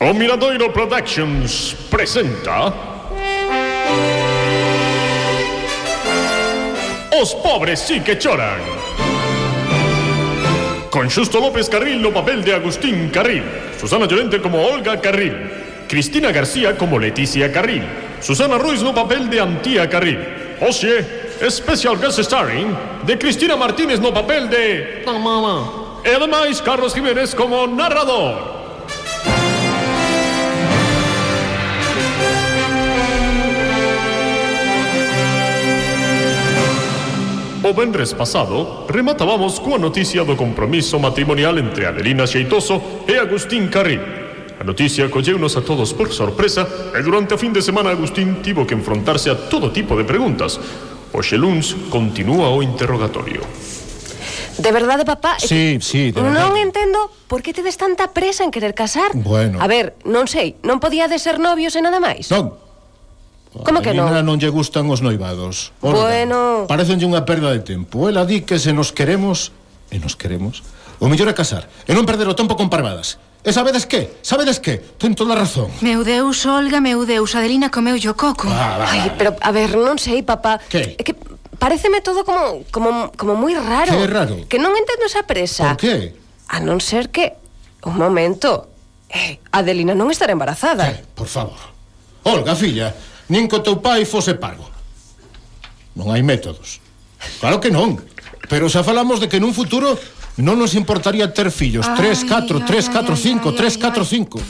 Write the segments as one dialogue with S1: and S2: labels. S1: O Miradoiro Oh, Productions presenta. Os pobres sí que choran. Con Justo López Carril no papel de Agustín Carril, Susana Llorente como Olga Carril, Cristina García como Leticia Carril, Susana Ruiz no papel de Antía Carril. Osie, Special Guest Starring de Cristina Martínez no papel de... La mamá. Y además Carlos Jiménez como narrador. O venres pasado, rematábamos coa noticia do compromiso matrimonial entre Adelina Xeitoso e Agustín Carril. A noticia colleunos a todos por sorpresa e durante a fin de semana Agustín tivo que enfrontarse a todo tipo de preguntas. O luns continúa o interrogatorio.
S2: De verdade, papá? é
S3: Sí, sí, de verdade.
S2: Non entendo por que tedes tanta presa en querer casar.
S3: Bueno.
S2: A ver, non sei, non podíades ser novios e nada máis?
S3: Non.
S2: Como que non?
S3: Nina non lle gustan os noivados. Ora,
S2: Bueno.
S3: Parecenlle unha perda de tempo. Ela di que se nos queremos, e nos queremos, o mellor é casar, e non perder o tempo con parvadas. E sabedes que? Sabedes que? Ten toda a razón.
S4: Meu Deus, Olga, meu Deus, Adelina comeu o coco.
S3: Va, va,
S2: Ai,
S3: va.
S2: pero a ver, non sei, papá.
S3: Que?
S2: É que pareceme todo como como como moi raro.
S3: Que é raro?
S2: Que non entendo esa presa.
S4: Ah.
S3: Por que?
S2: A non ser que un momento. Eh, Adelina non estará embarazada.
S3: Eh, por favor. Olga, filla, nin co teu pai fose parvo. Non hai métodos. Claro que non. Pero xa falamos de que nun futuro non nos importaría ter fillos.
S4: Ai,
S3: 3, 4,
S4: ai,
S3: 3, 4,
S4: ai,
S3: 5,
S4: ai, ai,
S3: 3, 4,
S4: ai, ai.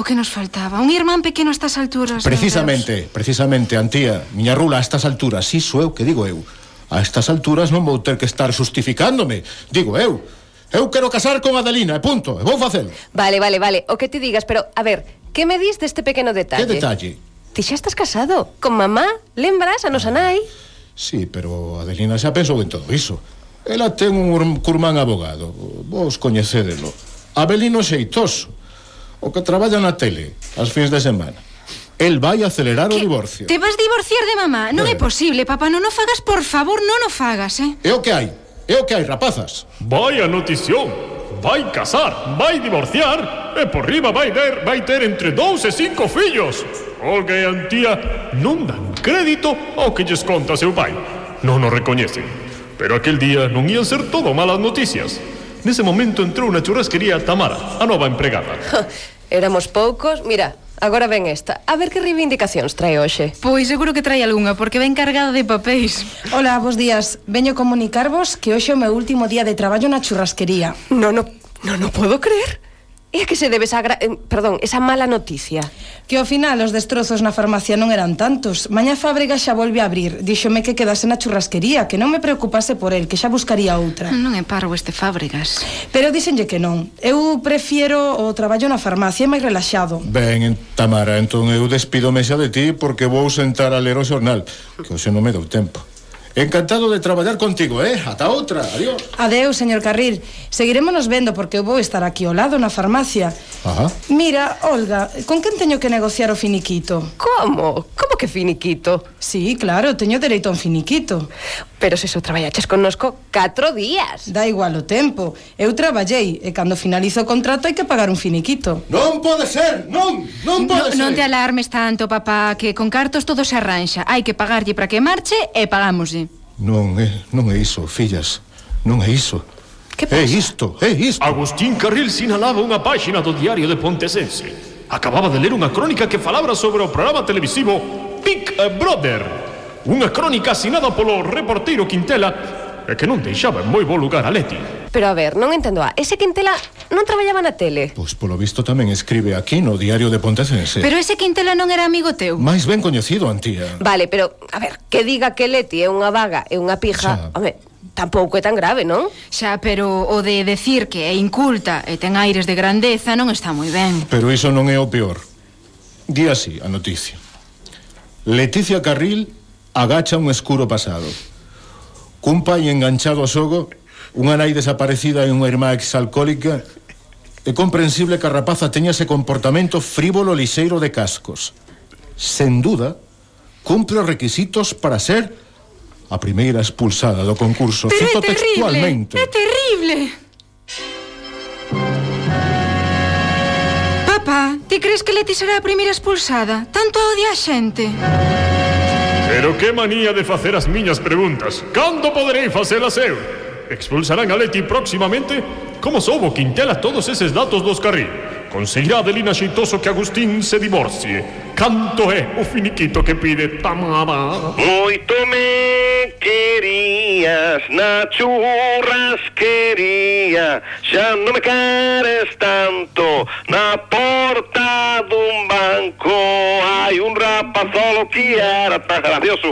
S3: 5.
S4: O que nos faltaba, un irmán pequeno a estas alturas. meu
S3: Precisamente, precisamente, Antía, miña rula, a estas alturas, iso é o que digo eu. A estas alturas non vou ter que estar justificándome. Digo eu, eu quero casar con Adelina, e punto, e vou facelo.
S2: Vale, vale, vale, o que te digas, pero a ver, que me dis deste pequeno detalle?
S3: Que detalle?
S2: Ti xa estás casado con mamá, lembras a nosa nai?
S3: Sí, pero Adelina xa pensou en todo iso. Ela ten un urm- curmán abogado, vos coñecédelo. Abelino Xeitoso, o que traballa na tele, as fins de semana. El vai acelerar o
S4: Que
S3: divorcio. Eh.
S4: Te vas divorciar de mamá? Non é
S3: Bueno.
S4: posible, papá, non o fagas, por favor, non o fagas, eh?
S3: É o que hai, é o que hai, rapazas.
S1: Vai a notición! Vai casar, vai divorciar e por riba vai ter, vai ter entre dous e cinco fillos. Olga e Antía non dan crédito ao que lles conta seu pai. Non o recoñecen. Pero aquel día non ían ser todo malas noticias. Nese momento entrou na churrasquería Tamara, a nova empregada.
S2: Éramos poucos, mira, agora ven esta. A ver que reivindicacións trae hoxe.
S4: Pois seguro que trai algunha, porque ven cargada de papéis.
S5: Ola, bos días. Veño comunicarvos que hoxe é o meu último día de traballo na churrasquería.
S2: No, no, no, no puedo creer. E a que se debe esa gra... eh, perdón, esa mala noticia?
S5: Que ao final os destrozos na farmacia non eran tantos. Mañá Fábrega xa volve a abrir. Díxome que quedase na churrasquería, que non me preocupase por el, que xa buscaría outra.
S4: Non é parvo este Fábregas.
S5: Pero díxenlle que non. Eu prefiero o traballo na farmacia, é máis relaxado.
S3: Ben, en- Tamara, entón eu despídome xa de ti porque vou sentar a ler o xornal, que hoxe non me deu tempo. Encantado de traballar contigo, eh? Ata outra, adiós.
S5: Adeus, señor Carril. Seguirémonos vendo porque eu vou estar aquí ao lado na farmacia.
S3: Ajá.
S5: Mira, Olga, con quen teño que negociar o finiquito?
S2: Como? Como que finiquito?
S5: Sí, claro, teño dereito a un finiquito.
S2: Pero se só traballaches connosco catro días.
S5: Da igual o tempo. Eu traballei e cando finalizo o contrato hai que pagar un finiquito.
S3: Non pode ser, non, non pode
S4: No,
S3: ser.
S4: non te alarmes tanto, papá, que con cartos todo se arranxa. Hai que pagarlle para que marche
S3: Eh.
S4: e pagámoslle.
S3: Non, é, non é iso, fillas. Non é iso.
S2: Que
S3: É
S2: pasa?
S3: isto, é isto.
S1: Agustín Carril sinalaba unha páxina do diario de Pontesense. Acababa de ler unha crónica que falaba sobre o programa televisivo Big Brother. Unha crónica asinada polo reporteiro Quintela e que non deixaba en moi bo lugar a Leti.
S2: Pero a ver, non entendo a... Ese Quintela non traballaba na tele.
S3: Pois polo visto tamén escribe aquí no diario de Pontecense.
S4: Pero ese Quintela non era amigo teu.
S3: Máis ben coñecido, Antía.
S2: Vale, pero, a ver, que diga que Leti é unha vaga e unha pija,
S3: Xa.
S2: home, tampouco é tan grave, non?
S4: Xa, pero o de decir que é inculta e ten aires de grandeza non está moi ben.
S3: Pero iso non é o peor. Di así a noticia. Leticia Carril agacha un escuro pasado. Cun pai enganchado ao xogo, unha nai desaparecida e unha irmá exalcohólica, é comprensible que a rapaza teña ese comportamento frívolo lixeiro de cascos. Sen duda, cumpre os requisitos para ser a primeira expulsada do concurso. Cito textualmente.
S4: é terrible. Papá, Ti crees que Leti será a primeira expulsada? Tanto a odia a xente.
S1: Pero que manía de facer as miñas preguntas Cando poderei facelas eu? Expulsarán a Leti próximamente? Como soubo Quintela todos eses datos dos carril? Conseguirá Adelina xeitoso que Agustín se divorcie Canto é o finiquito que pide Tamara
S6: Moito me querías na churrasquería Xa non me queres tanto Na porta dun banco Hai un rapazolo que era tan gracioso